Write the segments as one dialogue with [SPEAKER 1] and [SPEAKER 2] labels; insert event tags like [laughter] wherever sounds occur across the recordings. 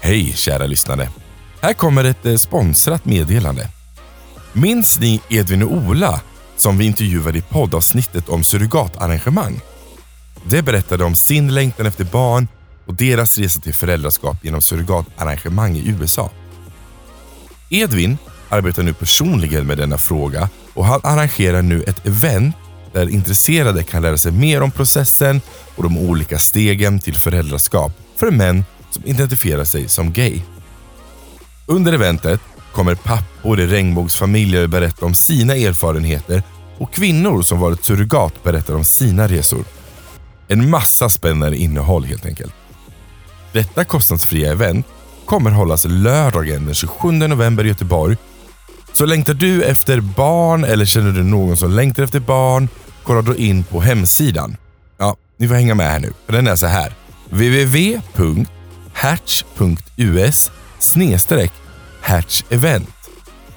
[SPEAKER 1] Hej kära lyssnare. Här kommer ett eh, sponsrat meddelande. Minns ni Edvin och Ola som vi intervjuade i poddavsnittet om surrogatarrangemang? Det berättade om sin längtan efter barn och deras resa till föräldraskap genom surrogatarrangemang i USA. Edvin arbetar nu personligen med denna fråga och han arrangerar nu ett event där intresserade kan lära sig mer om processen och de olika stegen till föräldraskap för män som identifierar sig som gay. Under eventet kommer pappor i regnbågsfamiljer berätta om sina erfarenheter och kvinnor som varit surrogat berättar om sina resor. En massa spännande innehåll helt enkelt. Detta kostnadsfria event kommer hållas lördagen den 27 november i Göteborg. Så längtar du efter barn eller känner du någon som längtar efter barn, kolla då in på hemsidan. Ja, ni får hänga med här nu, för den är så här. www.hatch.us hatch event.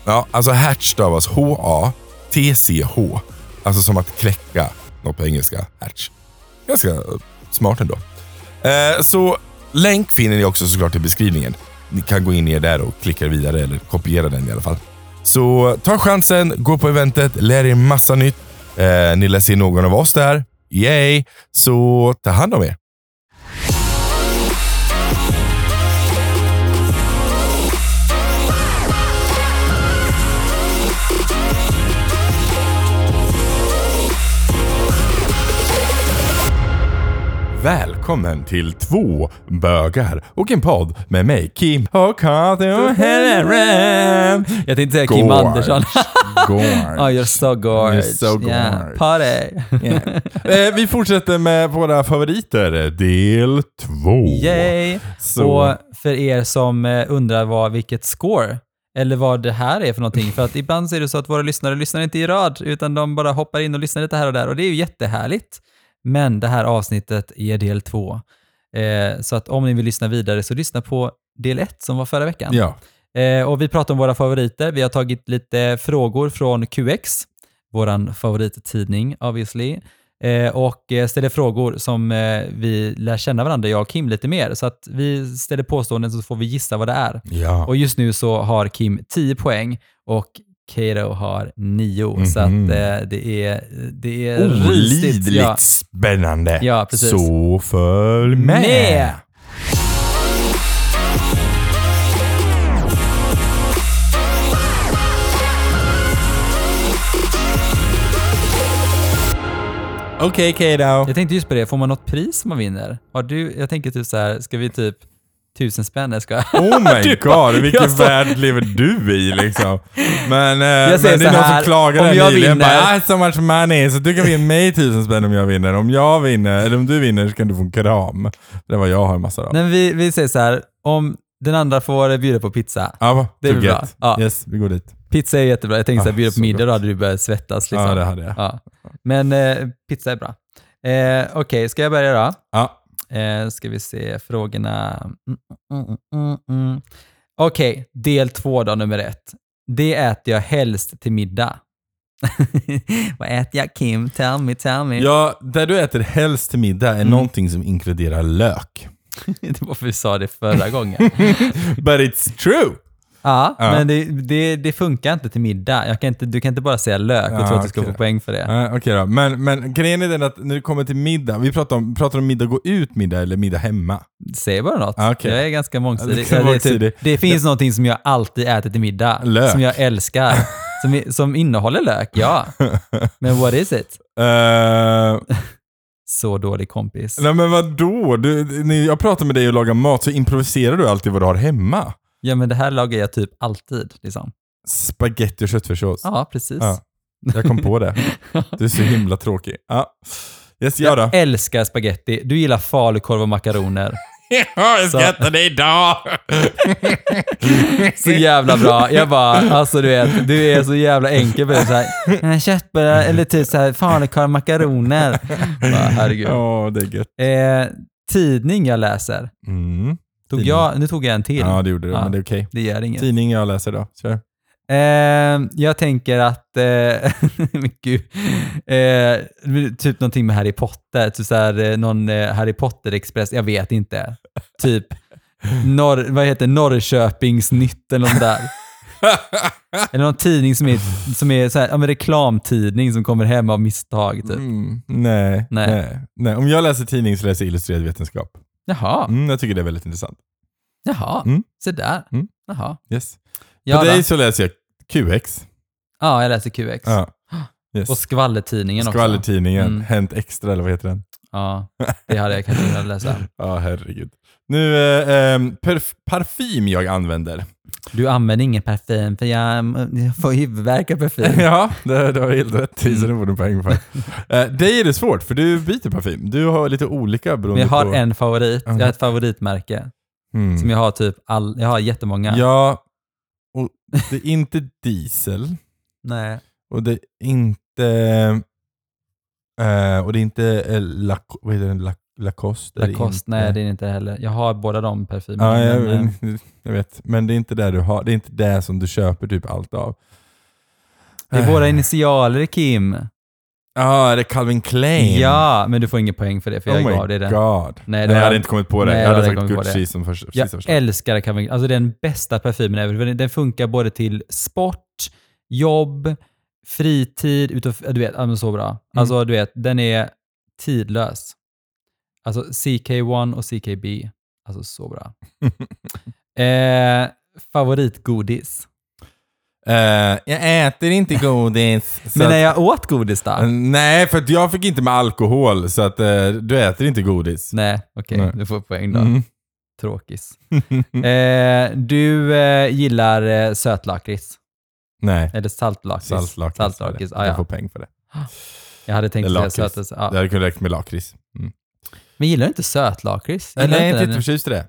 [SPEAKER 1] Ja, alltså hatch stavas H-A-T-C-H. Alltså som att kläcka något på engelska. Hatch. Ganska eh, smart ändå. Eh, så länk finner ni också såklart i beskrivningen. Ni kan gå in ner där och klicka vidare eller kopiera den i alla fall. Så ta chansen, gå på eventet, lär er massa nytt. Eh, ni lär se någon av oss där. Yay! Så ta hand om er. Välkommen till två bögar och en podd med mig Kim och Kato Hellerem.
[SPEAKER 2] Jag tänkte säga Kim Andersson. [laughs]
[SPEAKER 3] Gorge.
[SPEAKER 2] Oh, you're so gorge.
[SPEAKER 3] You're so
[SPEAKER 2] Yeah.
[SPEAKER 3] gorge.
[SPEAKER 2] Party. Yeah.
[SPEAKER 1] Eh, vi fortsätter med våra favoriter, del
[SPEAKER 3] [laughs]
[SPEAKER 1] två.
[SPEAKER 2] Yay.
[SPEAKER 1] Så-
[SPEAKER 2] Och för er som eh, undrar vad, vilket score eller vad det här är för någonting. För att ibland så är det så att våra lyssnare lyssnar inte i rad, utan de bara hoppar in och lyssnar lite här och där. Och det är ju jättehärligt. Men det här avsnittet är del två. Eh, så att om ni vill lyssna vidare så lyssna på del ett som var förra veckan.
[SPEAKER 1] Ja.
[SPEAKER 2] Eh, och vi pratar om våra favoriter. Vi har tagit lite frågor från QX, vår favorittidning obviously, eh, och eh, ställer frågor som eh, vi lär känna varandra, jag och Kim, lite mer. Så att vi ställer påståenden så får vi gissa vad det är.
[SPEAKER 1] ja.
[SPEAKER 2] Och just nu så har Kim 10 poäng och Kato har 9. Så att
[SPEAKER 1] Mhm.
[SPEAKER 2] eh, det är, det är
[SPEAKER 1] Olidligt
[SPEAKER 2] rysligt. Ja.
[SPEAKER 1] spännande.
[SPEAKER 2] Ja, precis.
[SPEAKER 1] Så följ med.
[SPEAKER 2] Med.
[SPEAKER 1] Okej, okay, Kato.
[SPEAKER 2] Jag tänkte just på det, får man något pris man vinner? Har du, jag tänker typ så här, ska vi typ tusen spänn? Nej, jag skojar. [laughs]
[SPEAKER 1] Oh my god, vilken
[SPEAKER 2] jag står-
[SPEAKER 1] värld lever du i liksom? Men, eh, men det
[SPEAKER 2] säger
[SPEAKER 1] är
[SPEAKER 2] så
[SPEAKER 1] någon
[SPEAKER 2] här,
[SPEAKER 1] som klagar
[SPEAKER 2] om
[SPEAKER 1] där
[SPEAKER 2] jag
[SPEAKER 1] nyligen
[SPEAKER 2] vinner-
[SPEAKER 1] bara, I have so much money, så du kan vinna mig tusen spänn om jag vinner. Om jag vinner, eller om du vinner så kan du få en kram. Det är vad jag har en massa av.
[SPEAKER 2] Nej, men vi, vi säger så här, om den andra får bjuda på pizza.
[SPEAKER 1] Ja, va,
[SPEAKER 2] Det är
[SPEAKER 1] to
[SPEAKER 2] bra.
[SPEAKER 1] get.
[SPEAKER 2] Ja.
[SPEAKER 1] Yes, vi går dit.
[SPEAKER 2] Pizza är jättebra. Jag tänkte så
[SPEAKER 1] Ah,
[SPEAKER 2] här, bjuda
[SPEAKER 1] så
[SPEAKER 2] på middag,
[SPEAKER 1] gott.
[SPEAKER 2] då hade du börjat svettas. Liksom.
[SPEAKER 1] Ja, det hade jag.
[SPEAKER 2] Ja. Men eh, pizza är bra. Eh, Okej, ska jag börja då?
[SPEAKER 1] Ja.
[SPEAKER 2] Eh, ska vi se frågorna. Mm, mm, mm, mm, mm. Okej, del två då, nummer ett. Det äter jag helst till middag. [laughs] Vad äter jag Kim? Tell me, tell me.
[SPEAKER 1] Ja, där du äter helst till middag
[SPEAKER 2] Mm.
[SPEAKER 1] är någonting som inkluderar lök.
[SPEAKER 2] [laughs] det var för vi sa det förra gången.
[SPEAKER 1] But it's true!
[SPEAKER 2] Ja,
[SPEAKER 1] Ja.
[SPEAKER 2] men det, det, det funkar inte till middag. Jag kan inte, du kan inte bara säga lök och
[SPEAKER 1] Ja,
[SPEAKER 2] tro att du ska
[SPEAKER 1] okej.
[SPEAKER 2] få poäng för det.
[SPEAKER 1] Eh, Okej då, men, men grejen är den att när det kommer till middag, vi pratar om, pratar om middag gå ut middag eller middag hemma.
[SPEAKER 2] Säg bara något.
[SPEAKER 1] Ja, okej.
[SPEAKER 2] Jag är ganska mångsidig.
[SPEAKER 1] Ja, du är
[SPEAKER 2] det, är
[SPEAKER 1] mångsidig.
[SPEAKER 2] typ, det finns någonting som jag alltid äter till middag,
[SPEAKER 1] Lök.
[SPEAKER 2] som jag
[SPEAKER 1] [laughs]
[SPEAKER 2] älskar, som, i- som innehåller lök, ja. Men what is it?
[SPEAKER 1] Eh,
[SPEAKER 2] Så dålig kompis.
[SPEAKER 1] nej men vadå? Du, när jag pratar med dig och lagar mat så improviserar du alltid vad du har hemma.
[SPEAKER 2] Ja, men det här lagar jag typ alltid. Liksom.
[SPEAKER 1] Spaghetti och köttfärssås.
[SPEAKER 2] Ja, precis.
[SPEAKER 1] Ja. Jag kom på det. Du är så himla tråkig. Ja. Yes, jag
[SPEAKER 2] [laughs]
[SPEAKER 1] då.
[SPEAKER 2] Älskar spaghetti. Du gillar falukorv och makaroner.
[SPEAKER 1] Ja, jag
[SPEAKER 2] Så-
[SPEAKER 1] skrattar dig idag!
[SPEAKER 2] Så jävla bra.
[SPEAKER 1] [laughs]
[SPEAKER 2] Jag bara, alltså du vet, du är så jävla enkel. Bara Så här, "Eh, köttbullar eller typ så här falukorv och makaroner. Bara,
[SPEAKER 1] [laughs]
[SPEAKER 2] herregud.
[SPEAKER 1] Ja, det är gött.
[SPEAKER 2] Eh, tidning jag läser.
[SPEAKER 1] Mm.
[SPEAKER 2] Tog
[SPEAKER 1] Tidning.
[SPEAKER 2] jag, nu tog jag en till.
[SPEAKER 1] Ja, det gjorde du,
[SPEAKER 2] Ja.
[SPEAKER 1] men det är okej.
[SPEAKER 2] Det gör inget.
[SPEAKER 1] Tidning jag läser då. Kör.
[SPEAKER 2] Eh, jag tänker att, eh, [laughs] men gud, eh, typ någonting med Harry Potter, typ så här, eh, någon eh, Harry Potter-express, jag vet inte. Typ Norr, vad heter det? Norrköpingsnytt eller
[SPEAKER 1] [laughs]
[SPEAKER 2] något där. eller någon tidning som är, som är så här, ja, men reklamtidning som kommer hem av misstag. Typ.
[SPEAKER 1] Mm, nej,
[SPEAKER 2] Nej.
[SPEAKER 1] nej. Nej, Om jag läser tidning så läser jag illustrerad vetenskap.
[SPEAKER 2] Jaha,
[SPEAKER 1] Mm, jag tycker det är väldigt intressant.
[SPEAKER 2] jaha,
[SPEAKER 1] Mm.
[SPEAKER 2] se där.
[SPEAKER 1] Mm.
[SPEAKER 2] Jaha.
[SPEAKER 1] Yes.
[SPEAKER 2] Ja,
[SPEAKER 1] På
[SPEAKER 2] då.
[SPEAKER 1] dig så läser jag QX.
[SPEAKER 2] ja, jag läser QX.
[SPEAKER 1] Ja. Yes.
[SPEAKER 2] Och skvallertidningen också.
[SPEAKER 1] Skvallertidningen,
[SPEAKER 2] Mm.
[SPEAKER 1] Hänt Extra eller vad heter den?
[SPEAKER 2] Ja, det hade jag kanske velat läsa.
[SPEAKER 1] Ja, herregud. Nu, eh, ehm, perf- parfym jag använder.
[SPEAKER 2] Du använder ingen parfym för jag, jag får huvudvärk av parfym.
[SPEAKER 1] [laughs]
[SPEAKER 2] [laughs]
[SPEAKER 1] ja, det, det har du helt rätt i, så det borde du poäng för. eh, dig är det svårt, för du byter parfym. Du har lite olika
[SPEAKER 2] Men
[SPEAKER 1] beroende
[SPEAKER 2] jag har
[SPEAKER 1] på...
[SPEAKER 2] en favorit. Jag
[SPEAKER 1] Ja.
[SPEAKER 2] har ett favoritmärke.
[SPEAKER 1] Mm.
[SPEAKER 2] Som jag har typ all, jag har jättemånga.
[SPEAKER 1] Ja, och det är inte diesel.
[SPEAKER 2] Nej.
[SPEAKER 1] Och det är inte... eh, och det är inte eh, Lac- vad heter den? Lac- Lacoste? är det
[SPEAKER 2] Lacoste,
[SPEAKER 1] inte.
[SPEAKER 2] nej det är det inte heller. Jag har båda de
[SPEAKER 1] Ja,
[SPEAKER 2] parfymerna.
[SPEAKER 1] jag,
[SPEAKER 2] men, eh,
[SPEAKER 1] jag vet. Men det är inte det du har. Det är inte det som du köper typ allt av.
[SPEAKER 2] det är våra initialer Kim.
[SPEAKER 1] Ja, är det Calvin Klein?
[SPEAKER 2] Ja, men du får ingen poäng för det för jag
[SPEAKER 1] oh my
[SPEAKER 2] gav dig den.
[SPEAKER 1] god.
[SPEAKER 2] Nej,
[SPEAKER 1] Nej,
[SPEAKER 2] det
[SPEAKER 1] jag
[SPEAKER 2] var-
[SPEAKER 1] hade inte kommit på det.
[SPEAKER 2] Nej,
[SPEAKER 1] jag
[SPEAKER 2] det
[SPEAKER 1] hade
[SPEAKER 2] hade
[SPEAKER 1] sagt
[SPEAKER 2] jag kommit på
[SPEAKER 1] Gucci som första.
[SPEAKER 2] Jag
[SPEAKER 1] sista förslag.
[SPEAKER 2] älskar Calvin Alltså det är den bästa parfymen ever. Den- Den funkar både till sport, jobb, fritid, utav, du vet, ja, men så
[SPEAKER 1] Mm.
[SPEAKER 2] bra. Alltså du vet, den är tidlös. Alltså CK1 och CKB. Alltså så bra.
[SPEAKER 1] [laughs]
[SPEAKER 2] eh, favoritgodis.
[SPEAKER 1] Eh, jag äter inte godis.
[SPEAKER 2] [laughs]
[SPEAKER 1] så
[SPEAKER 2] Men
[SPEAKER 1] att- Eh, Mm.
[SPEAKER 2] när jag åt godis då?
[SPEAKER 1] Nej, för att jag fick inte med alkohol, så att eh, du äter inte godis.
[SPEAKER 2] Nej, okej.
[SPEAKER 1] Nej.
[SPEAKER 2] Du får poäng då.
[SPEAKER 1] Mm. [laughs]
[SPEAKER 2] Tråkis. Eh, du eh, gillar eh, sötlakrits.
[SPEAKER 1] Nej,
[SPEAKER 2] Eller saltlakrits.
[SPEAKER 1] saltlakrits.
[SPEAKER 2] Saltlakrits,
[SPEAKER 1] var det.
[SPEAKER 2] ah,
[SPEAKER 1] Jag
[SPEAKER 2] ja.
[SPEAKER 1] får poäng för det.
[SPEAKER 2] Jag hade tänkt
[SPEAKER 1] Eller
[SPEAKER 2] säga
[SPEAKER 1] lakrits.
[SPEAKER 2] sötis. Ja.
[SPEAKER 1] Det hade kunnat räcka med lakrits. Mm.
[SPEAKER 2] Men gillar du inte sötlakrits?
[SPEAKER 1] Nej,
[SPEAKER 2] Gillar
[SPEAKER 1] jag
[SPEAKER 2] du
[SPEAKER 1] är
[SPEAKER 2] inte
[SPEAKER 1] inte
[SPEAKER 2] den?
[SPEAKER 1] jätteförtjust i det.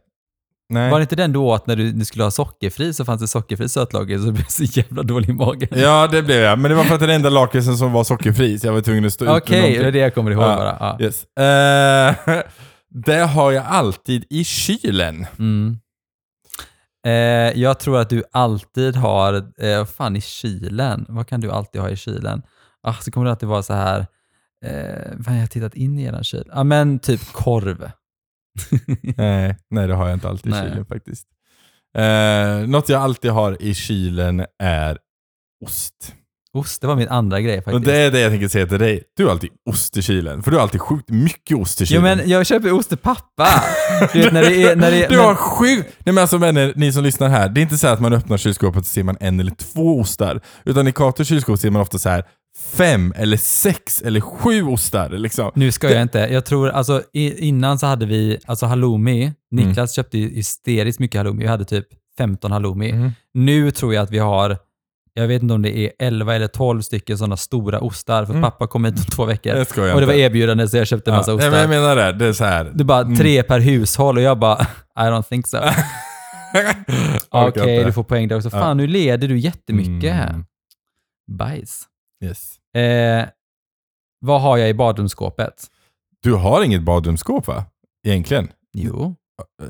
[SPEAKER 1] Nej.
[SPEAKER 2] Var det inte den du åt när du, du skulle ha sockerfri så fanns det sockerfri sötlakrits och du blev så jävla dålig i magen?
[SPEAKER 1] Ja, det blev jag. Men det var för att det var den enda lakritsen som var sockerfri, så jag var tvungen att stå ut med
[SPEAKER 2] Okej,
[SPEAKER 1] någonting.
[SPEAKER 2] det är det jag kommer ihåg
[SPEAKER 1] Ja.
[SPEAKER 2] bara. Ja.
[SPEAKER 1] Yes. Eh, [laughs] det har jag alltid i kylen.
[SPEAKER 2] Mm. Eh, jag tror att du alltid har, eh, fan i kylen, vad kan du alltid ha i kylen? Ah, så kommer det alltid vara så här, eh, fan jag har tittat in i eran kyl. Ja men typ korv.
[SPEAKER 1] Nej, nej, det har jag inte alltid i
[SPEAKER 2] Nej.
[SPEAKER 1] kylen faktiskt. Eh, något jag alltid har i kylen är ost.
[SPEAKER 2] Ost, det var min andra grej faktiskt.
[SPEAKER 1] Och det är det jag tänker säga till dig. Du har alltid ost i kylen, för du har alltid sjukt mycket ost i
[SPEAKER 2] Jo
[SPEAKER 1] kylen.
[SPEAKER 2] men jag köper ost
[SPEAKER 1] [laughs]
[SPEAKER 2] till pappa. Du vet när det är... När det är
[SPEAKER 1] du har
[SPEAKER 2] men,
[SPEAKER 1] sjukt... Nej men alltså vänner, ni som lyssnar här. Det är inte så här att man öppnar kylskåpet och ser man en eller två ostar. Utan i Katers kylskåp ser man ofta så här fem eller sex eller sju ostar. Liksom.
[SPEAKER 2] nu ska jag inte. Jag tror, alltså i, innan så hade vi, alltså
[SPEAKER 1] Mm.
[SPEAKER 2] halloumi. Niklas köpte ju hysteriskt mycket halloumi. Vi hade typ 15 halloumi.
[SPEAKER 1] Mm.
[SPEAKER 2] Nu tror jag att vi har, jag vet inte om det är 11 eller 12 stycken sådana stora ostar. För pappa kom hit om två veckor.
[SPEAKER 1] Mm. Det skojar jag
[SPEAKER 2] och det var
[SPEAKER 1] inte.
[SPEAKER 2] erbjudande så jag köpte en massa
[SPEAKER 1] Ja, nej,
[SPEAKER 2] ostar.
[SPEAKER 1] men Mm. jag menar det. Det är så här.
[SPEAKER 2] det är bara tre per hushåll och jag bara, [laughs] I don't think so.
[SPEAKER 1] [laughs] Orkar
[SPEAKER 2] Okej,
[SPEAKER 1] inte.
[SPEAKER 2] du får poäng där också.
[SPEAKER 1] Ja.
[SPEAKER 2] Fan, nu leder du jättemycket.
[SPEAKER 1] Mm.
[SPEAKER 2] Bajs.
[SPEAKER 1] Yes.
[SPEAKER 2] Eh, vad har jag i badrumsskåpet?
[SPEAKER 1] Du har inget badrumsskåp va? Egentligen?
[SPEAKER 2] Jo,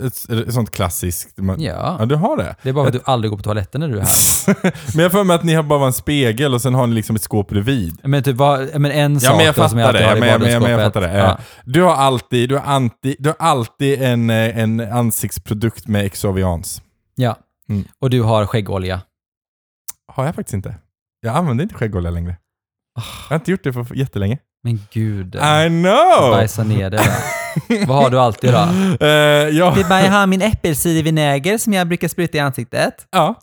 [SPEAKER 1] Ett, ett sånt klassiskt... Man,
[SPEAKER 2] ja.
[SPEAKER 1] ja, du har det.
[SPEAKER 2] Det är bara för att du aldrig går på toaletten när du är här.
[SPEAKER 1] [laughs] men jag har för mig att ni har bara en spegel och sen har ni liksom ett skåp bredvid.
[SPEAKER 2] Men, typ, vad, men en sak
[SPEAKER 1] Ja, men jag
[SPEAKER 2] då som jag
[SPEAKER 1] fattar
[SPEAKER 2] alltid
[SPEAKER 1] det.
[SPEAKER 2] har
[SPEAKER 1] Ja, men, jag-
[SPEAKER 2] i
[SPEAKER 1] men, jag- men jag
[SPEAKER 2] badrumsskåpet.
[SPEAKER 1] fattar det. Eh, Du har alltid, du har alltid, du har alltid en, eh, en ansiktsprodukt med exovians.
[SPEAKER 2] Ja.
[SPEAKER 1] Mm.
[SPEAKER 2] Och du har skäggolja.
[SPEAKER 1] Har jag faktiskt inte. Jag använder inte skäggolja längre. Jag har inte gjort det för jättelänge.
[SPEAKER 2] Men gud. eh,
[SPEAKER 1] I know!
[SPEAKER 2] Bajsa ner
[SPEAKER 1] [laughs]
[SPEAKER 2] det där. Vad har du alltid då?
[SPEAKER 1] Eh, ja.
[SPEAKER 2] är bara jag har min äppelcidervinäger som jag brukar spruta i ansiktet.
[SPEAKER 1] ja.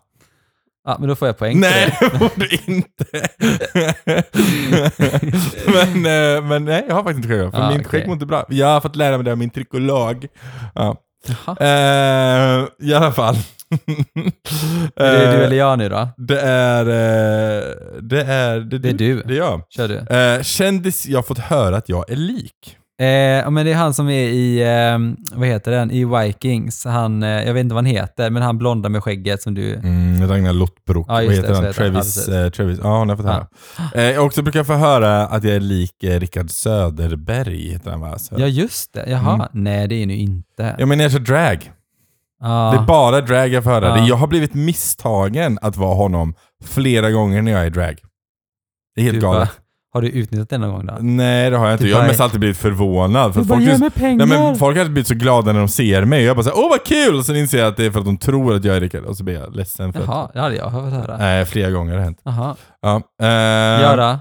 [SPEAKER 2] Ja, men då får jag poäng för
[SPEAKER 1] Nej,
[SPEAKER 2] det.
[SPEAKER 1] [laughs] det borde du inte. [laughs] men, eh, men nej, jag har faktiskt inte skägg. För
[SPEAKER 2] Ah,
[SPEAKER 1] min
[SPEAKER 2] okej.
[SPEAKER 1] skägg mår inte bra. Jag har fått lära mig det av min trykolog. Ja.
[SPEAKER 2] Jaha.
[SPEAKER 1] Eh, I alla fall. [laughs]
[SPEAKER 2] Är det du
[SPEAKER 1] Eh,
[SPEAKER 2] eller jag nu då?
[SPEAKER 1] Det är... eh, Det är...
[SPEAKER 2] Det är du.
[SPEAKER 1] Det är jag.
[SPEAKER 2] Kör du.
[SPEAKER 1] Eh, kändis jag fått höra att jag är lik.
[SPEAKER 2] Eh, ja, men det är han som är i, eh, vad heter den, i Vikings. Han, eh, jag vet inte vad han heter, men han blonda med skägget som du...
[SPEAKER 1] Mm, Ragnar Lottbrock.
[SPEAKER 2] Ja, just
[SPEAKER 1] Vad
[SPEAKER 2] det,
[SPEAKER 1] heter
[SPEAKER 2] så
[SPEAKER 1] han?
[SPEAKER 2] heter han.
[SPEAKER 1] Travis.
[SPEAKER 2] Ja,
[SPEAKER 1] Ja, Travis. ja hon har fått höra.
[SPEAKER 2] Ja.
[SPEAKER 1] Eh, och så brukar jag få höra att jag är lik eh, Rickard Söderberg. Heter han, va? Söder.
[SPEAKER 2] Ja, just det. Jaha.
[SPEAKER 1] Mm.
[SPEAKER 2] Nej, det är nu inte. Ah.
[SPEAKER 1] Jag menar, jag kör drag.
[SPEAKER 2] Ja.
[SPEAKER 1] Det är bara drag jag får höra.
[SPEAKER 2] Ja.
[SPEAKER 1] Det- Jag har blivit misstagen att vara honom flera gånger när jag är drag. Det är helt
[SPEAKER 2] Du
[SPEAKER 1] galet.
[SPEAKER 2] bara, Typ, Har du utnyttjat det någon gång då?
[SPEAKER 1] Nej, det har jag inte.
[SPEAKER 2] Typ
[SPEAKER 1] Jag har
[SPEAKER 2] bara-
[SPEAKER 1] mest alltid blivit förvånad. För
[SPEAKER 2] Du bara,
[SPEAKER 1] folk,
[SPEAKER 2] ge
[SPEAKER 1] är,
[SPEAKER 2] mig pengar!
[SPEAKER 1] nej, men folk har alltid blivit så glada när de ser mig. Och jag bara såhär, åh vad kul! Och sen inser jag att det är för att de tror att jag är Rickard. Och så blir jag ledsen för att...
[SPEAKER 2] Jaha, det hade jag fått höra.
[SPEAKER 1] Nej, flera gånger har det hänt.
[SPEAKER 2] Jaha.
[SPEAKER 1] Ja, eh,
[SPEAKER 2] Göra?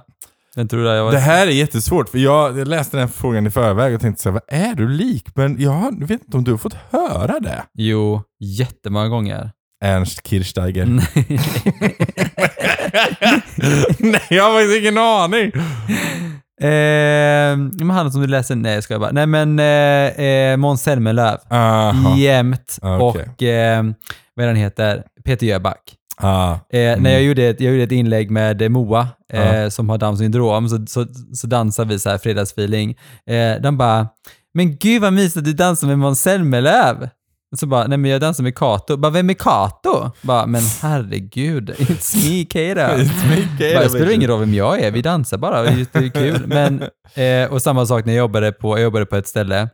[SPEAKER 2] Vem tror du jag var?
[SPEAKER 1] Det här är jättesvårt, för jag, jag läste den här frågan i förväg och tänkte såhär, vad är du lik? Men jag har- jag vet inte om du har fått höra det?
[SPEAKER 2] Jo,
[SPEAKER 1] [laughs]
[SPEAKER 2] jättemånga gånger.
[SPEAKER 1] Ernst Kirchsteiger.
[SPEAKER 2] Nej.
[SPEAKER 1] [laughs] Nej, jag har faktiskt ingen aning.
[SPEAKER 2] eh, men han som du läser, nej ska jag bara. Nej men eh, eh, Måns Zelmerlöw.
[SPEAKER 1] Aha.
[SPEAKER 2] Jämt.
[SPEAKER 1] Ah, okej.
[SPEAKER 2] Och eh, vad är han heter? Peter Jöback.
[SPEAKER 1] Ah.
[SPEAKER 2] Eh,
[SPEAKER 1] Mm.
[SPEAKER 2] När jag gjorde, ett, jag gjorde ett inlägg med eh, Moa eh, som har Downs syndrom så, så, så dansar vi så här fredagsfeeling. Eh, de bara, men gud vad mysigt att du dansar med Måns Zelmerlöw. Och Så bara, nej men jag dansar med Kato. Bara, vem är Kato? Bara, men herregud, [laughs] it's
[SPEAKER 1] [laughs]
[SPEAKER 2] me Kato. Bara, det spelar ingen roll vem jag är, vi dansar bara, det är- det är [laughs] kul. Men, eh, och samma sak när jag jobbade, på, jag jobbade på ett ställe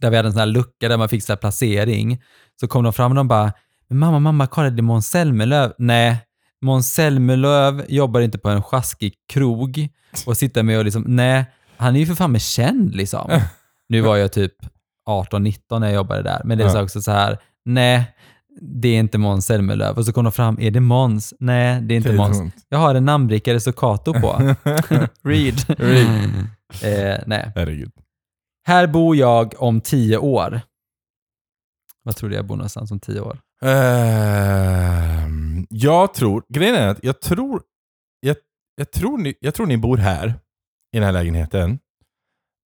[SPEAKER 2] där vi hade en sån här lucka där man fick så här placering. Så kom de fram och de bara, "Men mamma, mamma, kolla det är Måns Zelmerlöw. Nej, Måns Zelmerlöw jobbar inte på en sjaskig krog och sitter med och liksom, nej, han är ju för fan med känd [laughs] liksom. Nu var jag typ 18-19 när jag jobbade där, men det är
[SPEAKER 1] Ja.
[SPEAKER 2] så också så här, nej, det är inte Måns Zelmerlöw. Och så kom de fram, är det Måns? Nej, det är inte Måns. Jag har en namnbricka det står Kato
[SPEAKER 1] [laughs]
[SPEAKER 2] på. Read.
[SPEAKER 1] Read.
[SPEAKER 2] eh, nej.
[SPEAKER 1] Herregud.
[SPEAKER 2] Här bor jag om tio år. Vad tror du jag bor någonstans om tio år?
[SPEAKER 1] Ehm, jag tror, grejen är att jag tror, jag, jag, tror ni, jag tror ni bor här i den här lägenheten.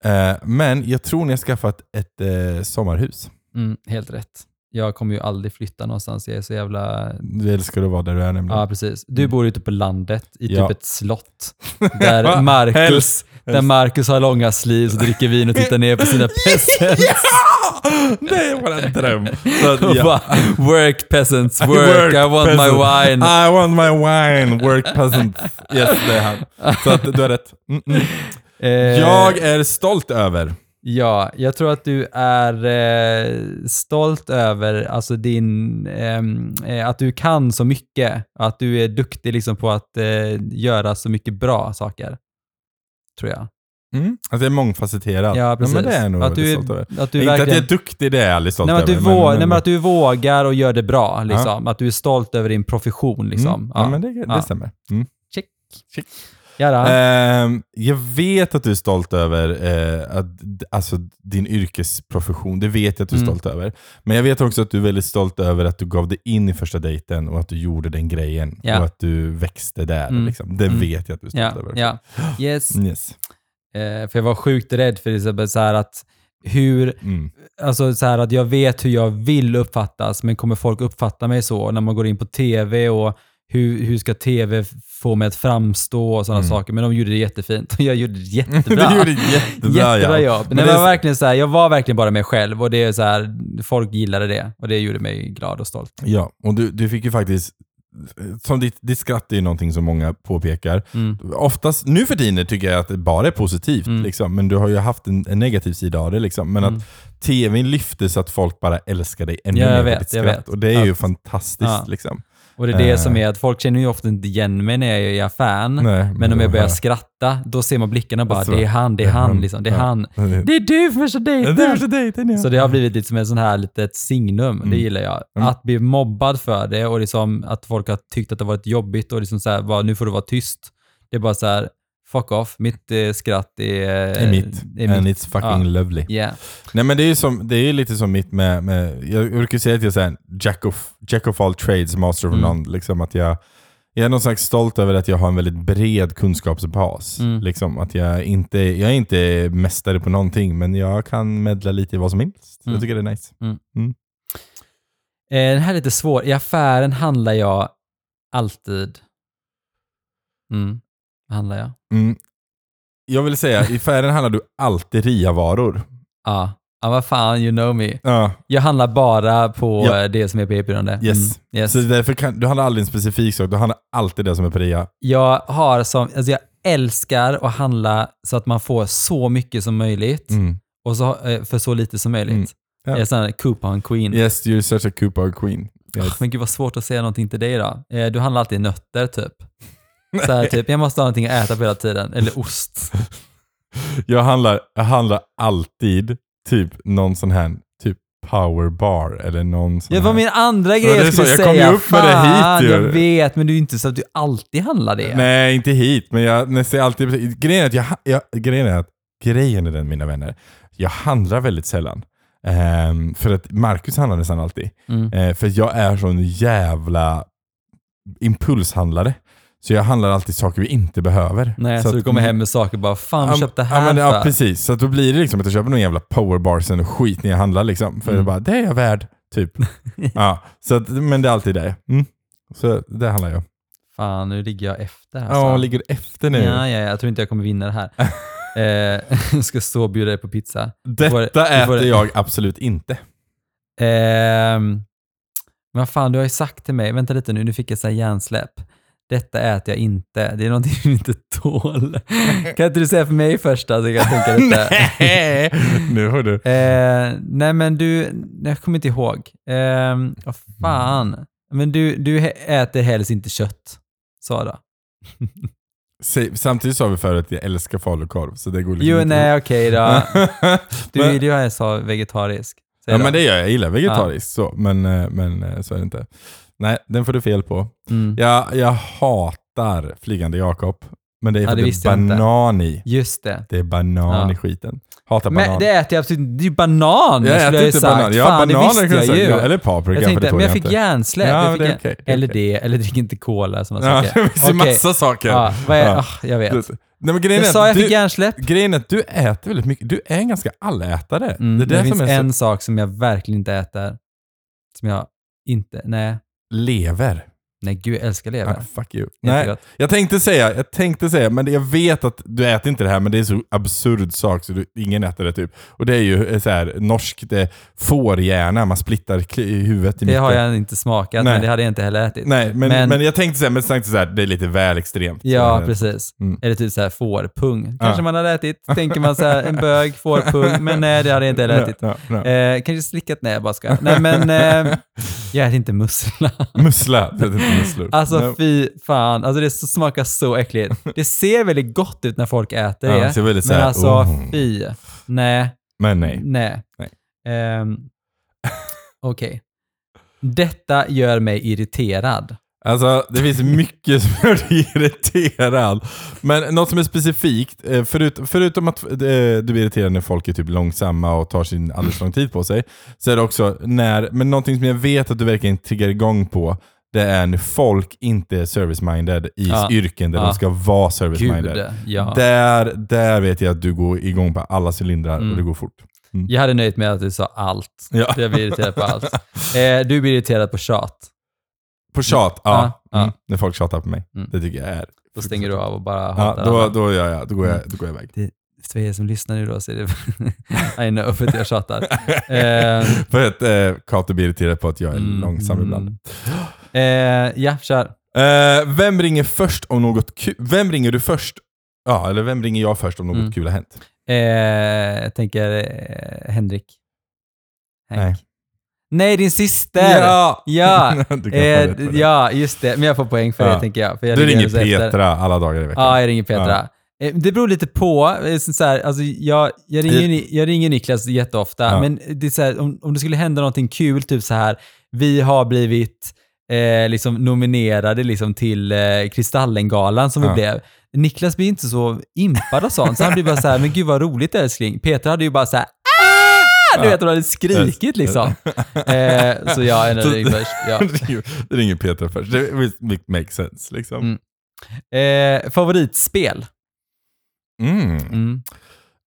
[SPEAKER 1] Eh, men jag tror ni har skaffat ett eh, sommarhus.
[SPEAKER 2] Mm, helt rätt. Jag kommer ju aldrig flytta någonstans. Jag är så jävla...
[SPEAKER 1] Du älskar att vara där du är nämligen.
[SPEAKER 2] Ja, precis. Du bor ute på landet i typ
[SPEAKER 1] Mm. Ja. [laughs]
[SPEAKER 2] ett slott. Där Marcus,
[SPEAKER 1] Helst.
[SPEAKER 2] där Marcus har långa sleeves och dricker vin och tittar ner
[SPEAKER 1] [laughs]
[SPEAKER 2] på sina peasants.
[SPEAKER 1] Ja! [laughs] Det är våran dröm. Så
[SPEAKER 2] [laughs]
[SPEAKER 1] att,
[SPEAKER 2] Och
[SPEAKER 1] ja.
[SPEAKER 2] bara, work peasants,
[SPEAKER 1] I
[SPEAKER 2] work, I want
[SPEAKER 1] peasant.
[SPEAKER 2] my wine.
[SPEAKER 1] I want my wine. Work peasant. Yes, det är han. Så att du har rätt. Mm -mm.
[SPEAKER 2] Eh,
[SPEAKER 1] Jag är stolt över.
[SPEAKER 2] Ja, jag tror att du är eh, stolt över alltså din, ehm, eh, att du kan så mycket. Att du är duktig liksom, på att eh, göra så mycket bra saker. Tror jag.
[SPEAKER 1] Att det är mångfacetterat.
[SPEAKER 2] Mm. Ja, precis.
[SPEAKER 1] men det är jag nog
[SPEAKER 2] att du,
[SPEAKER 1] väldigt
[SPEAKER 2] är-
[SPEAKER 1] stolt över.
[SPEAKER 2] att du
[SPEAKER 1] inte att jag är
[SPEAKER 2] verkligen...
[SPEAKER 1] duktig, det är jag aldrig stolt
[SPEAKER 2] Nej, men att, du
[SPEAKER 1] över.
[SPEAKER 2] vå- nej, men att du vågar och gör det bra. Liksom. Att du är stolt över din profession. Liksom.
[SPEAKER 1] Mm.
[SPEAKER 2] Ja.
[SPEAKER 1] Ja, men det, det
[SPEAKER 2] Ja.
[SPEAKER 1] stämmer. Mm.
[SPEAKER 2] Check.
[SPEAKER 1] Check.
[SPEAKER 2] Göra.
[SPEAKER 1] Ehm, jag vet att du är stolt över eh, att, alltså, din yrkesprofession. Det vet jag att du är
[SPEAKER 2] Mm.
[SPEAKER 1] stolt över. Men jag vet också att du är väldigt stolt över att du gav dig in i första dejten och att du gjorde den grejen.
[SPEAKER 2] Ja.
[SPEAKER 1] Och att du växte där.
[SPEAKER 2] Mm.
[SPEAKER 1] Liksom. Det
[SPEAKER 2] Mm.
[SPEAKER 1] vet jag att du är stolt
[SPEAKER 2] ja,
[SPEAKER 1] över.
[SPEAKER 2] ja. Yes.
[SPEAKER 1] Yes.
[SPEAKER 2] Eh, för jag var sjukt rädd för Isabel, så här att hur
[SPEAKER 1] Mm.
[SPEAKER 2] Alltså så här att jag vet hur jag vill uppfattas, men kommer folk uppfatta mig så? När man går in på tv och hur, hur ska tv få mig att framstå och sådana
[SPEAKER 1] Mm.
[SPEAKER 2] saker. Men de gjorde det jättefint. [laughs] Jag gjorde det jättebra.
[SPEAKER 1] [laughs] Du gjorde jättebra,
[SPEAKER 2] jättebra
[SPEAKER 1] ja.
[SPEAKER 2] jobb.
[SPEAKER 1] Men det
[SPEAKER 2] Nej, men
[SPEAKER 1] är-
[SPEAKER 2] jag, var verkligen så här, jag var verkligen bara mig själv och det är så här, folk gillade det och det gjorde mig glad och stolt.
[SPEAKER 1] ja. Och du, du fick ju faktiskt... Som ditt, ditt skratt är ju någonting som många påpekar.
[SPEAKER 2] Mm.
[SPEAKER 1] Oftast, nu för tiden tycker jag att det bara är positivt,
[SPEAKER 2] Mm.
[SPEAKER 1] liksom, men du har ju haft en, en negativ sida av det. Liksom. Men
[SPEAKER 2] Mm.
[SPEAKER 1] att tvn lyfter så att folk bara älskar dig ännu
[SPEAKER 2] Ja, jag
[SPEAKER 1] mer
[SPEAKER 2] vet,
[SPEAKER 1] för ditt
[SPEAKER 2] jag
[SPEAKER 1] skratt.
[SPEAKER 2] vet.
[SPEAKER 1] Och det är ju
[SPEAKER 2] Att-
[SPEAKER 1] fantastiskt.
[SPEAKER 2] Ja.
[SPEAKER 1] Liksom.
[SPEAKER 2] Och det är det
[SPEAKER 1] Eh.
[SPEAKER 2] som är att folk känner ju ofta inte igen mig när jag är i affären.
[SPEAKER 1] Nej,
[SPEAKER 2] Men om jag börjar
[SPEAKER 1] ja.
[SPEAKER 2] skratta, då ser man blickarna bara,
[SPEAKER 1] Så.
[SPEAKER 2] det är han, det är han, liksom, det är
[SPEAKER 1] Ja.
[SPEAKER 2] han.
[SPEAKER 1] Det-
[SPEAKER 2] Det är du första dejten!
[SPEAKER 1] Det är första dejten ja.
[SPEAKER 2] Så det har blivit lite som en sån här litet signum, det gillar jag.
[SPEAKER 1] Mm.
[SPEAKER 2] Att bli mobbad för det och liksom att folk har tyckt att det varit jobbigt och liksom så här, bara, nu får du vara tyst. Det är bara så här, fuck off, mitt eh, skratt är,
[SPEAKER 1] Det är mitt.
[SPEAKER 2] Är mitt.
[SPEAKER 1] And it's fucking lovely.
[SPEAKER 2] Yeah.
[SPEAKER 1] Nej men det är ju som, det är ju lite som mitt med, med jag brukar säga att jag är så här, jack, of, jack of all trades, master of
[SPEAKER 2] Mm.
[SPEAKER 1] none. Liksom att jag, jag är någon slags stolt över att jag har en väldigt bred kunskapsbas.
[SPEAKER 2] Mm.
[SPEAKER 1] Liksom att jag, inte, jag är inte mästare på någonting, men jag kan meddla lite i vad som helst.
[SPEAKER 2] Mm.
[SPEAKER 1] Jag tycker det är nice.
[SPEAKER 2] Eh, den här är lite svår. I affären handlar jag alltid... Mm. Vad handlar jag?
[SPEAKER 1] Mm. Jag vill säga, i affären handlar du alltid RIA-varor.
[SPEAKER 2] Ja. Ja, vad fan, you know me.
[SPEAKER 1] Ja,
[SPEAKER 2] Jag handlar bara på
[SPEAKER 1] Ja.
[SPEAKER 2] eh, det som är på erbjudande.
[SPEAKER 1] Yes.
[SPEAKER 2] Mm. yes.
[SPEAKER 1] så därför kan, du handlar aldrig en specifik sak, du handlar alltid det som är på RIA.
[SPEAKER 2] Jag har som, alltså jag älskar att handla så att man får så mycket som möjligt
[SPEAKER 1] Mm.
[SPEAKER 2] och så, eh, för så lite som möjligt.
[SPEAKER 1] Mm. Ja.
[SPEAKER 2] Jag är sån här coupon queen.
[SPEAKER 1] Yes, you're such a coupon queen.
[SPEAKER 2] Ah,
[SPEAKER 1] Yes.
[SPEAKER 2] Men gud vad svårt att säga någonting till dig idag. Eh, Du handlar alltid nötter typ. Så här, typ, jag måste ha någonting att äta på hela tiden.
[SPEAKER 1] [laughs]
[SPEAKER 2] Eller ost.
[SPEAKER 1] Jag handlar, jag handlar alltid typ någon sån här typ powerbar eller någon sån
[SPEAKER 2] Det var
[SPEAKER 1] här.
[SPEAKER 2] min andra grej
[SPEAKER 1] det är
[SPEAKER 2] jag skulle
[SPEAKER 1] så, jag
[SPEAKER 2] säga.
[SPEAKER 1] kom ju upp med det hit
[SPEAKER 2] Fan,
[SPEAKER 1] ju.
[SPEAKER 2] Jag vet, men det är ju inte så att du alltid handlar det.
[SPEAKER 1] Nej, inte hit, men jag, jag ser alltid... Grejen är, att jag, jag, grejen är att, grejen är den mina vänner, jag handlar väldigt sällan. Ehm, för att Marcus handlar nästan alltid.
[SPEAKER 2] Mm.
[SPEAKER 1] Eh, för jag är sån jävla impulshandlare. Så jag handlar alltid saker vi inte behöver.
[SPEAKER 2] Nej, så, du
[SPEAKER 1] att-
[SPEAKER 2] kommer hem med saker och bara fan
[SPEAKER 1] Ja,
[SPEAKER 2] vi köpte
[SPEAKER 1] ja,
[SPEAKER 2] här
[SPEAKER 1] men, ja,
[SPEAKER 2] för.
[SPEAKER 1] precis. Så att då blir det liksom att jag köper någon jävla powerbarsen och skit när jag handlar. Liksom. För
[SPEAKER 2] Mm.
[SPEAKER 1] jag bara, det är jag värd.
[SPEAKER 2] [laughs]
[SPEAKER 1] Typ. ja, så att, men det är alltid det. Mm. Så det handlar jag.
[SPEAKER 2] Fan, nu ligger jag efter alltså. här.
[SPEAKER 1] Ja,
[SPEAKER 2] Sam.
[SPEAKER 1] ligger du efter nu?
[SPEAKER 2] ja, ja, jag tror inte jag kommer vinna
[SPEAKER 1] [laughs]
[SPEAKER 2] det här. eh, [laughs] jag ska stå och bjuda dig på pizza.
[SPEAKER 1] Detta
[SPEAKER 2] får- du får-
[SPEAKER 1] äter jag absolut
[SPEAKER 2] [laughs]
[SPEAKER 1] inte.
[SPEAKER 2] Ehm, men fan, du har ju sagt till mig, vänta lite nu, nu fick jag så här hjärnsläpp. Detta äter jag inte, det är någonting [laughs] du inte tål. Kan inte du säga för mig först alltså, jag kan tänka lite.
[SPEAKER 1] [laughs] nu har du.
[SPEAKER 2] Eh, nej men du, jag kommer inte ihåg. Eh, vad fan. Men du, du he- äter helst inte kött, Sara.
[SPEAKER 1] Se- Samtidigt sa vi förut att jag älskar falukorv, så det går liksom
[SPEAKER 2] Jo,
[SPEAKER 1] inte ihop.
[SPEAKER 2] nej
[SPEAKER 1] [laughs]
[SPEAKER 2] okej då. Du
[SPEAKER 1] Men-
[SPEAKER 2] vill ju ha en så vegetarisk. säger
[SPEAKER 1] Ja
[SPEAKER 2] de.
[SPEAKER 1] men det gör jag, jag gillar vegetariskt så, men, eh, men eh, så är det inte. Nej, den får du fel på.
[SPEAKER 2] Mm.
[SPEAKER 1] Jag, jag hatar flygande Jakob, men det är
[SPEAKER 2] Ja,
[SPEAKER 1] för
[SPEAKER 2] det
[SPEAKER 1] att det
[SPEAKER 2] visste
[SPEAKER 1] är
[SPEAKER 2] jag inte.
[SPEAKER 1] banan i.
[SPEAKER 2] Just det.
[SPEAKER 1] Det är banan
[SPEAKER 2] Ja.
[SPEAKER 1] i skiten. Hatar banan.
[SPEAKER 2] Men det äter jag absolut inte. Det är ju banan! skulle
[SPEAKER 1] jag äter
[SPEAKER 2] ju
[SPEAKER 1] inte
[SPEAKER 2] sagt.
[SPEAKER 1] banan. Ja,
[SPEAKER 2] Fan,
[SPEAKER 1] bananer kan
[SPEAKER 2] det visste jag
[SPEAKER 1] säga.
[SPEAKER 2] ju.
[SPEAKER 1] Ja, Eller paprika,
[SPEAKER 2] jag
[SPEAKER 1] för det
[SPEAKER 2] tänkte,
[SPEAKER 1] tål
[SPEAKER 2] men jag fick
[SPEAKER 1] inte.
[SPEAKER 2] hjärnsläpp.
[SPEAKER 1] Ja,
[SPEAKER 2] jag
[SPEAKER 1] men
[SPEAKER 2] fick
[SPEAKER 1] det är okej,
[SPEAKER 2] hjär-
[SPEAKER 1] det är
[SPEAKER 2] Eller
[SPEAKER 1] okej.
[SPEAKER 2] det, eller drick inte cola. Såna
[SPEAKER 1] Ja, [laughs]
[SPEAKER 2] saker.
[SPEAKER 1] det finns ju
[SPEAKER 2] Okej.
[SPEAKER 1] massa saker.
[SPEAKER 2] Ja, vad är,
[SPEAKER 1] Ja.
[SPEAKER 2] ah, jag vet.
[SPEAKER 1] Du- Nej, men grejen,
[SPEAKER 2] Jag
[SPEAKER 1] är
[SPEAKER 2] sa
[SPEAKER 1] att
[SPEAKER 2] jag fick
[SPEAKER 1] du,
[SPEAKER 2] hjärnsläpp.
[SPEAKER 1] grejen är att du äter väldigt mycket. Du är en ganska allätare.
[SPEAKER 2] Mm,
[SPEAKER 1] det
[SPEAKER 2] det
[SPEAKER 1] är det,
[SPEAKER 2] finns
[SPEAKER 1] som är så...
[SPEAKER 2] en sak som jag verkligen inte äter. Som jag inte... Nej.
[SPEAKER 1] Lever.
[SPEAKER 2] Nej, gud jag älskar lever.
[SPEAKER 1] Ah, fuck you. Nej,
[SPEAKER 2] Jättegott.
[SPEAKER 1] Jag tänkte säga, jag tänkte säga, men det- jag vet att du äter inte det här, men det är så absurd sak så du, ingen äter det typ. Och det är ju eh, så här, norskt eh, fårhjärna, man splittar kli- i huvudet i
[SPEAKER 2] Det
[SPEAKER 1] mitten.
[SPEAKER 2] har jag inte smakat,
[SPEAKER 1] Nej.
[SPEAKER 2] men det hade jag inte heller ätit.
[SPEAKER 1] Nej, men,
[SPEAKER 2] Men-
[SPEAKER 1] men, jag tänkte säga, men jag tänkte så här, det är lite väl extremt.
[SPEAKER 2] Ja,
[SPEAKER 1] Så, eh,
[SPEAKER 2] precis.
[SPEAKER 1] Mm.
[SPEAKER 2] Eller typ så här fårpung. Kanske
[SPEAKER 1] Ja.
[SPEAKER 2] man hade ätit, tänker man så här,
[SPEAKER 1] [laughs]
[SPEAKER 2] en bög, fårpung, men nej det hade jag inte heller ätit.
[SPEAKER 1] Ja, ja, ja.
[SPEAKER 2] Eh, kanske slickat, nej jag bara ska. Nej men, eh,
[SPEAKER 1] [laughs]
[SPEAKER 2] jag äter inte mussla.
[SPEAKER 1] Mussla, det heter musslor.
[SPEAKER 2] Alltså
[SPEAKER 1] Nej.
[SPEAKER 2] fy fan, alltså det så- smakar så äckligt. Det ser väldigt gott ut när folk äter
[SPEAKER 1] Ja,
[SPEAKER 2] det,
[SPEAKER 1] det ser väldigt så
[SPEAKER 2] men
[SPEAKER 1] här,
[SPEAKER 2] alltså
[SPEAKER 1] oh.
[SPEAKER 2] fy. Nej,
[SPEAKER 1] Men nej.
[SPEAKER 2] nej.
[SPEAKER 1] Nej. [laughs]
[SPEAKER 2] Ehm, Okej. Detta gör mig irriterad.
[SPEAKER 1] Alltså, det finns mycket som gör dig irriterad. Men något som är specifikt, eh, förut, förutom att eh, du blir irriterad när folk är typ långsamma och tar sin alldeles lång tid på sig, så är det också när, men någonting som jag vet att du verkligen triggar igång på, det är när folk inte är service-minded i
[SPEAKER 2] Ja.
[SPEAKER 1] yrken där
[SPEAKER 2] Ja.
[SPEAKER 1] de ska vara
[SPEAKER 2] Gud,
[SPEAKER 1] service-minded.
[SPEAKER 2] ja.
[SPEAKER 1] Där, där vet jag att du går igång på alla cylindrar
[SPEAKER 2] Mm.
[SPEAKER 1] och det går fort.
[SPEAKER 2] Jag hade nöjt med att du sa allt.
[SPEAKER 1] Ja.
[SPEAKER 2] Jag blir irriterad
[SPEAKER 1] [laughs]
[SPEAKER 2] på allt. Eh, du blir irriterad på tjat.
[SPEAKER 1] På tjat, ja.
[SPEAKER 2] Ja, ja.
[SPEAKER 1] Mm. När folk tjatar på mig.
[SPEAKER 2] Mm.
[SPEAKER 1] Det tycker jag är...
[SPEAKER 2] Då stänger du av Mm. och bara
[SPEAKER 1] Ja,
[SPEAKER 2] hatar
[SPEAKER 1] då,
[SPEAKER 2] alla.
[SPEAKER 1] då, gör jag, då, går jag, då går jag iväg.
[SPEAKER 2] För er som lyssnar nu då så är det... [laughs] I know, för att
[SPEAKER 1] [laughs]
[SPEAKER 2] jag tjatar. Eh,
[SPEAKER 1] För att eh, Kato blir irriterad på att jag är
[SPEAKER 2] mm,
[SPEAKER 1] långsam
[SPEAKER 2] mm.
[SPEAKER 1] ibland.
[SPEAKER 2] Eh, ja, kör.
[SPEAKER 1] Eh, vem ringer först om något kul? Vem ringer du först? Ja, eller vem ringer jag först om något
[SPEAKER 2] Mm.
[SPEAKER 1] kul har hänt?
[SPEAKER 2] Eh, jag tänker eh, Henrik. Hank.
[SPEAKER 1] Nej.
[SPEAKER 2] Nej, din syster!
[SPEAKER 1] Ja!
[SPEAKER 2] Ja.
[SPEAKER 1] [laughs] du, kan få
[SPEAKER 2] Eh,
[SPEAKER 1] rätt för det.
[SPEAKER 2] ja, just det. Men jag får poäng för
[SPEAKER 1] Ja.
[SPEAKER 2] det tänker jag. För jag
[SPEAKER 1] du
[SPEAKER 2] ligger
[SPEAKER 1] ringer
[SPEAKER 2] ändå så efter.
[SPEAKER 1] Petra alla dagar i veckan. [laughs]
[SPEAKER 2] Ja, jag ringer Petra. Eh, Det beror lite på. Eh, så- Så här, alltså jag, jag, ringer, Ni- jag ringer Niklas jätteofta,
[SPEAKER 1] Ja.
[SPEAKER 2] men det är så här, om, om det skulle hända någonting kul, typ så här, vi har blivit eh, liksom nominerade liksom till eh, Kristallengalan som vi
[SPEAKER 1] Ja.
[SPEAKER 2] blev. Niklas blir inte så impad av sånt, så han blir bara så här, men gud vad roligt älskling. Petra hade ju bara så här, ah! Du
[SPEAKER 1] Ja.
[SPEAKER 2] vet, hon hade skrikit liksom. Eh, så jag är
[SPEAKER 1] Så-
[SPEAKER 2] nöjd först. Ja.
[SPEAKER 1] du, ringer, du ringer Petra först. Det make- makes sense liksom.
[SPEAKER 2] Eh, favoritspel?
[SPEAKER 1] Mm.
[SPEAKER 2] Mm,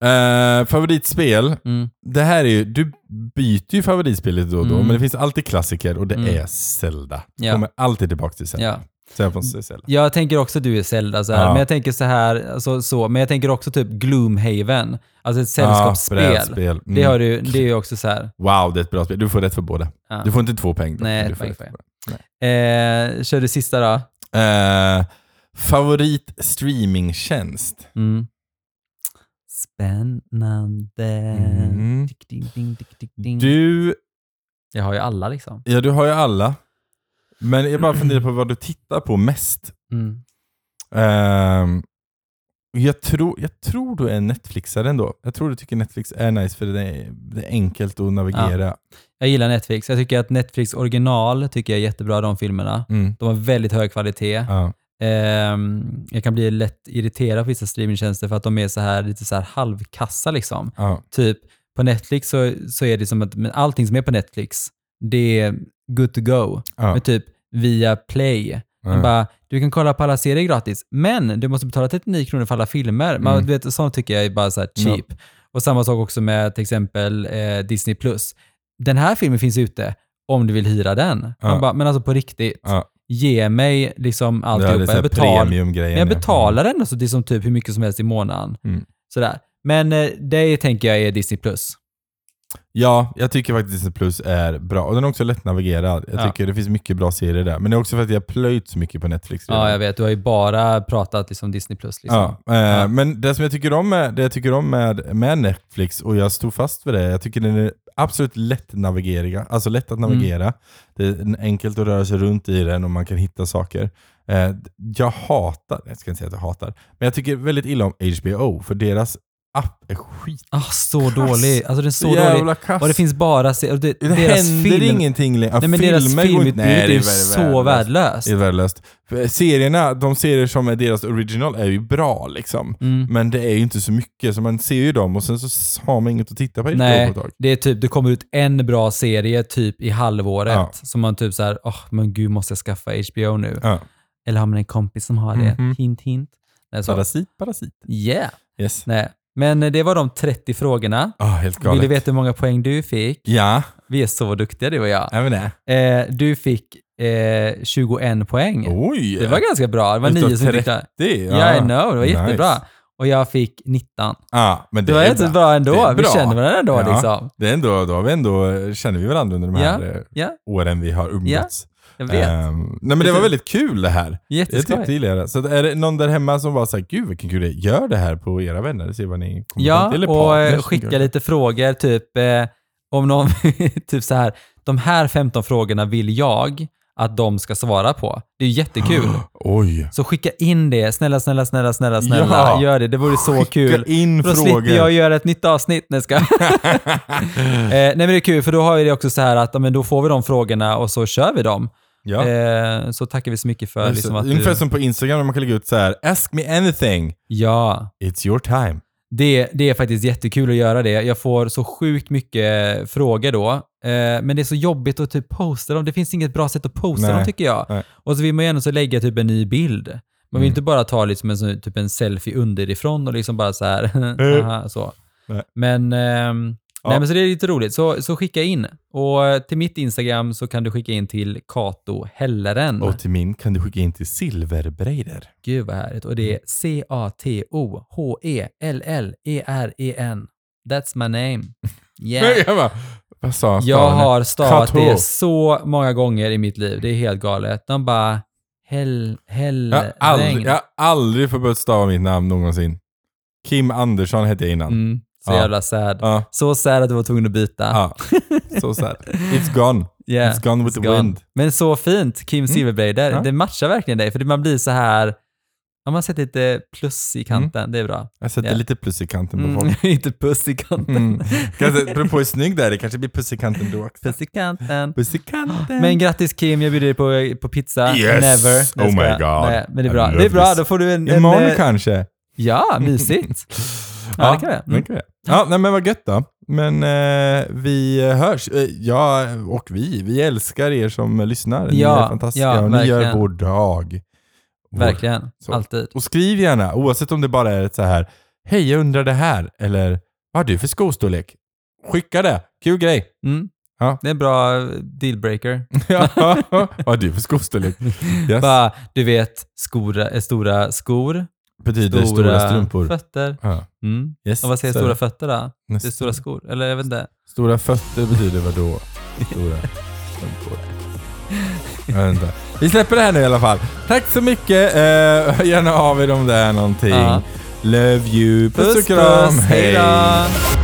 [SPEAKER 1] Eh, favoritspel.
[SPEAKER 2] mm.
[SPEAKER 1] Det här är ju, du byter ju favoritspel lite då och då,
[SPEAKER 2] Mm.
[SPEAKER 1] men det finns alltid klassiker och det
[SPEAKER 2] Mm.
[SPEAKER 1] är Zelda.
[SPEAKER 2] Ja.
[SPEAKER 1] Jag kommer alltid tillbaka till Zelda.
[SPEAKER 2] Ja.
[SPEAKER 1] Så jag får säga Zelda.
[SPEAKER 2] Jag tänker också att du är Zelda så här,
[SPEAKER 1] Ja.
[SPEAKER 2] men jag tänker så här, alltså, så, men jag tänker också typ Gloomhaven, alltså ett
[SPEAKER 1] Ja,
[SPEAKER 2] sällskapsspel.
[SPEAKER 1] brädspel. Mm.
[SPEAKER 2] det, har du, det är ju också så här.
[SPEAKER 1] Wow, det är ett bra spel. Du får rätt för båda.
[SPEAKER 2] Ja.
[SPEAKER 1] Du får inte två poäng. Då.
[SPEAKER 2] Nej,
[SPEAKER 1] Du
[SPEAKER 2] ett
[SPEAKER 1] får
[SPEAKER 2] poäng
[SPEAKER 1] rätt
[SPEAKER 2] får jag.
[SPEAKER 1] för båda.
[SPEAKER 2] Eh, kör du sista då?
[SPEAKER 1] Eh, favorit streamingtjänst?
[SPEAKER 2] Mm. Spännande.
[SPEAKER 1] Mm.
[SPEAKER 2] Tick, ding, ding, tick, tick, ding.
[SPEAKER 1] Du,
[SPEAKER 2] Jag har ju alla liksom.
[SPEAKER 1] ja du har ju alla. Men jag bara funderar på vad du tittar på mest.
[SPEAKER 2] Mm.
[SPEAKER 1] Ehm, jag, tror, jag tror du är Netflixare ändå. Jag tror du tycker Netflix är nice för det är, det är enkelt att navigera.
[SPEAKER 2] Jag gillar Netflix. Jag tycker att Netflix original tycker jag är jättebra, de filmerna.
[SPEAKER 1] Mm.
[SPEAKER 2] De har väldigt hög kvalitet.
[SPEAKER 1] Ja.
[SPEAKER 2] Ehm, jag kan bli lätt irriterad på vissa streamingtjänster för att de är så här, lite så här halvkassa liksom.
[SPEAKER 1] Ja.
[SPEAKER 2] Typ på Netflix så, så är det som att men allting som är på Netflix, det är good to go.
[SPEAKER 1] Ja.
[SPEAKER 2] Men typ via Play. Man
[SPEAKER 1] Ja.
[SPEAKER 2] bara, du kan kolla på alla serier gratis, men du måste betala 39 kronor för alla filmer. Man,
[SPEAKER 1] Mm.
[SPEAKER 2] vet, sånt tycker jag är bara så här cheap. Och samma sak också med till exempel eh, Disney+. Den här filmen finns ute om du vill hyra den.
[SPEAKER 1] Ja.
[SPEAKER 2] Man bara, men alltså på riktigt,
[SPEAKER 1] Ja.
[SPEAKER 2] ge mig liksom
[SPEAKER 1] Det är
[SPEAKER 2] alltihopa.
[SPEAKER 1] lite
[SPEAKER 2] Jag, betal, men
[SPEAKER 1] premiumgrejen.
[SPEAKER 2] jag
[SPEAKER 1] ja.
[SPEAKER 2] betalar ändå så det är som typ hur mycket som helst i månaden.
[SPEAKER 1] Mm.
[SPEAKER 2] Sådär. Men eh, det tänker jag är Disney+.
[SPEAKER 1] Ja, jag tycker faktiskt Disney Plus är bra. Och den är också lättnavigerad. Jag
[SPEAKER 2] Ja.
[SPEAKER 1] tycker det finns mycket bra serier där. Men det är också för att jag har plöjt så mycket på Netflix redan.
[SPEAKER 2] Ja, jag vet. Du har ju bara pratat liksom Disney+. Liksom.
[SPEAKER 1] Ja, eh,
[SPEAKER 2] Ja.
[SPEAKER 1] Men det som jag tycker om, med, det jag tycker om med, med Netflix, och jag stod fast vid det, jag tycker den är absolut lätt, navigeriga, alltså lätt
[SPEAKER 2] Mm.
[SPEAKER 1] att navigera. Det är en- enkelt att röra sig runt i den och man kan hitta saker. Eh, jag hatar, jag ska inte säga att jag hatar, men jag tycker väldigt illa om HBO, för deras app är skit.
[SPEAKER 2] Ah, så
[SPEAKER 1] Kass.
[SPEAKER 2] dålig. Alltså den är så dålig.
[SPEAKER 1] jävla kass.
[SPEAKER 2] Och det finns bara... Se- och det,
[SPEAKER 1] det
[SPEAKER 2] deras
[SPEAKER 1] händer
[SPEAKER 2] film,
[SPEAKER 1] ingenting längre. Ja,
[SPEAKER 2] Nej, men deras
[SPEAKER 1] filmer går inte-
[SPEAKER 2] filmutbud
[SPEAKER 1] Nej, det
[SPEAKER 2] är ju
[SPEAKER 1] värdelöst.
[SPEAKER 2] så värdelöst.
[SPEAKER 1] Det är värdelöst. För Serierna, de serier som är deras original är ju bra liksom.
[SPEAKER 2] Mm.
[SPEAKER 1] Men det är ju inte så mycket, så man ser ju dem och sen så har man inget att titta på i
[SPEAKER 2] Nej,
[SPEAKER 1] ett tag.
[SPEAKER 2] det är typ, det kommer ut en bra serie typ i halvåret
[SPEAKER 1] Ja.
[SPEAKER 2] som man typ såhär, åh men gud måste jag skaffa HBO nu?
[SPEAKER 1] Ja.
[SPEAKER 2] Eller har man en kompis som har det?
[SPEAKER 1] Mhm.
[SPEAKER 2] Hint hint. Nej, så.
[SPEAKER 1] Parasit, parasit.
[SPEAKER 2] Yeah.
[SPEAKER 1] Yes.
[SPEAKER 2] Nej. Men eh, det var de 30 frågorna.
[SPEAKER 1] Ah, helt galet.
[SPEAKER 2] Vill du veta hur många poäng du fick?
[SPEAKER 1] Ja,
[SPEAKER 2] Vi är så duktiga du och jag.
[SPEAKER 1] även det.
[SPEAKER 2] Eh, du fick eh, 21 poäng.
[SPEAKER 1] Oj!
[SPEAKER 2] Det var ganska bra. Det var
[SPEAKER 1] Oh, Utav
[SPEAKER 2] nio som fick det.
[SPEAKER 1] det.
[SPEAKER 2] Ja, I know. Det var jättebra. Och jag fick 19.
[SPEAKER 1] Ja, men det,
[SPEAKER 2] Det, var
[SPEAKER 1] är
[SPEAKER 2] rätt så bra ändå.
[SPEAKER 1] Det är
[SPEAKER 2] Vi
[SPEAKER 1] bra.
[SPEAKER 2] kände varandra ändå
[SPEAKER 1] Ja.
[SPEAKER 2] liksom.
[SPEAKER 1] Det är ändå, då har vi ändå, känner vi varandra under de här eh,
[SPEAKER 2] Ja,
[SPEAKER 1] åren vi har umgåtts.
[SPEAKER 2] jag vet.
[SPEAKER 1] Ehm, nej men det var väldigt kul det typ- här. Jag
[SPEAKER 2] Jätteskoj.
[SPEAKER 1] tyckte jag gillade det. Så att är det någon där hemma som var såhär, gud vilken kul det är. Gör det här på era vänner, se vad ni kommer fram
[SPEAKER 2] Ja,
[SPEAKER 1] till. Eller
[SPEAKER 2] och eh,
[SPEAKER 1] partners.
[SPEAKER 2] skicka lite frågor, typ eh, om någon, [laughs] typ så här, de här 15 frågorna vill jag att de ska svara på. Det är ju jättekul.
[SPEAKER 1] Oj.
[SPEAKER 2] Så skicka in det. Snälla, snälla, snälla, snälla, snälla.
[SPEAKER 1] Ja.
[SPEAKER 2] Gör det. Det vore så
[SPEAKER 1] Skicka
[SPEAKER 2] kul.
[SPEAKER 1] in
[SPEAKER 2] För Då
[SPEAKER 1] frågor.
[SPEAKER 2] slipper jag göra ett nytt avsnitt. Nej, jag skojar.
[SPEAKER 1] [laughs]
[SPEAKER 2] eh, nej, men det är kul, för då har vi det också så här att ja, men då får vi de frågorna och så kör vi dem.
[SPEAKER 1] Ja.
[SPEAKER 2] Eh, så tackar vi så mycket för
[SPEAKER 1] Just
[SPEAKER 2] liksom,
[SPEAKER 1] det.
[SPEAKER 2] att
[SPEAKER 1] Ungefär
[SPEAKER 2] du...
[SPEAKER 1] som på Instagram när man kan lägga ut så här: Ask me anything,
[SPEAKER 2] Ja.
[SPEAKER 1] it's your time.
[SPEAKER 2] Det, det är faktiskt jättekul att göra det. Jag får så sjukt mycket frågor då. Eh, men det är så jobbigt att typ posta dem. Det finns inget bra sätt att posta
[SPEAKER 1] Nej.
[SPEAKER 2] dem tycker jag.
[SPEAKER 1] Nej.
[SPEAKER 2] Och så vill man ju ändå så lägga typ en ny bild. Man vill
[SPEAKER 1] Mm.
[SPEAKER 2] inte bara ta liksom en, sån- typ en selfie underifrån och liksom bara så här. [laughs]
[SPEAKER 1] Eh.
[SPEAKER 2] aha, så.
[SPEAKER 1] Nej.
[SPEAKER 2] Men, ehm,
[SPEAKER 1] Ja.
[SPEAKER 2] nej, men så det är lite roligt. Så, så skicka in. Och eh, till mitt Instagram så kan du skicka in till Kato Helleren.
[SPEAKER 1] Och till min kan du skicka in till silverbreider.
[SPEAKER 2] Gud vad härligt. Och
[SPEAKER 1] Mm.
[SPEAKER 2] det är E C-A-T-O-H-E-L-L-E-R-E-N. E That's my
[SPEAKER 1] [laughs]
[SPEAKER 2] name. Yeah.
[SPEAKER 1] Jag bara, vad sa han?
[SPEAKER 2] Jag har stavat
[SPEAKER 1] Kato.
[SPEAKER 2] det så många gånger i mitt liv. Det är helt galet. De bara hell, hell,
[SPEAKER 1] jag har aldrig,
[SPEAKER 2] regn.
[SPEAKER 1] jag har aldrig förbörjat stava mitt namn någonsin. Kim Andersson hette jag innan.
[SPEAKER 2] Mm, så
[SPEAKER 1] Ja.
[SPEAKER 2] jävla sad.
[SPEAKER 1] Ja,
[SPEAKER 2] Så sad att du var tvungen att byta. [laughs]
[SPEAKER 1] ja. Så sad. It's gone.
[SPEAKER 2] Yeah,
[SPEAKER 1] It's gone with
[SPEAKER 2] it's
[SPEAKER 1] the
[SPEAKER 2] gone.
[SPEAKER 1] wind.
[SPEAKER 2] Men så fint, Kim Silverbreider.
[SPEAKER 1] Mm. Ja.
[SPEAKER 2] Det matchar verkligen dig, för det- man blir så här... Ja, man sätter lite plus i kanten. Det är bra.
[SPEAKER 1] Jag sätter
[SPEAKER 2] Ja.
[SPEAKER 1] lite puss i kanten på
[SPEAKER 2] Mm,
[SPEAKER 1] Mm.
[SPEAKER 2] [laughs]
[SPEAKER 1] folk.
[SPEAKER 2] inte puss i kanten.
[SPEAKER 1] Mm. Kanske, det beror på hur snygg det är, det kanske blir puss i kanten då också.
[SPEAKER 2] Puss i kanten.
[SPEAKER 1] Puss i kanten.
[SPEAKER 2] Men grattis Kim, jag bjuder dig på, på pizza.
[SPEAKER 1] Yes!
[SPEAKER 2] Never. Nej,
[SPEAKER 1] Oh my
[SPEAKER 2] jag skojar.
[SPEAKER 1] God.
[SPEAKER 2] Nej, men det är
[SPEAKER 1] I
[SPEAKER 2] bra.
[SPEAKER 1] love
[SPEAKER 2] Det är bra,
[SPEAKER 1] this.
[SPEAKER 2] då får du en... en
[SPEAKER 1] Imorgon
[SPEAKER 2] eh,
[SPEAKER 1] kanske.
[SPEAKER 2] ja, mysigt. Ja, det kan vi. Mm.
[SPEAKER 1] det kan vi. Ja, nej, men vad gött då. Men eh, vi hörs. Eh, Ja, och vi. Vi älskar er som lyssnar. Ni
[SPEAKER 2] Ja,
[SPEAKER 1] är fantastiska
[SPEAKER 2] ja,
[SPEAKER 1] och ni gör
[SPEAKER 2] verkligen.
[SPEAKER 1] vår dag. [laughs] Vår-
[SPEAKER 2] Verkligen.
[SPEAKER 1] Så.
[SPEAKER 2] Alltid.
[SPEAKER 1] Och skriv gärna, oavsett om det bara är ett så här Hej, jag undrar det här. Eller vad har du för skostorlek? Skicka det. Kul grej. [laughs]
[SPEAKER 2] Mm.
[SPEAKER 1] Ja.
[SPEAKER 2] Det är en bra eh, dealbreaker.
[SPEAKER 1] Ja, vad har du för
[SPEAKER 2] [laughs]
[SPEAKER 1] skostorlek? Yes.
[SPEAKER 2] Bara, du vet, skor, eh, stora skor,
[SPEAKER 1] Betyder
[SPEAKER 2] stora,
[SPEAKER 1] stora, strumpor.
[SPEAKER 2] fötter.
[SPEAKER 1] Ja.
[SPEAKER 2] Mm.
[SPEAKER 1] Yes.
[SPEAKER 2] Och vad säger
[SPEAKER 1] Så-
[SPEAKER 2] stora fötter då? Det är
[SPEAKER 1] nästa.
[SPEAKER 2] stora skor, eller jag vet inte.
[SPEAKER 1] Stora fötter betyder vad då? Stora strumpor. Jag vet inte. Vi släpper det här nu i alla fall. Tack så mycket. Eh, hör gärna av er om det är någonting.
[SPEAKER 2] Ja.
[SPEAKER 1] Love you. Puss och kram.
[SPEAKER 2] hej då!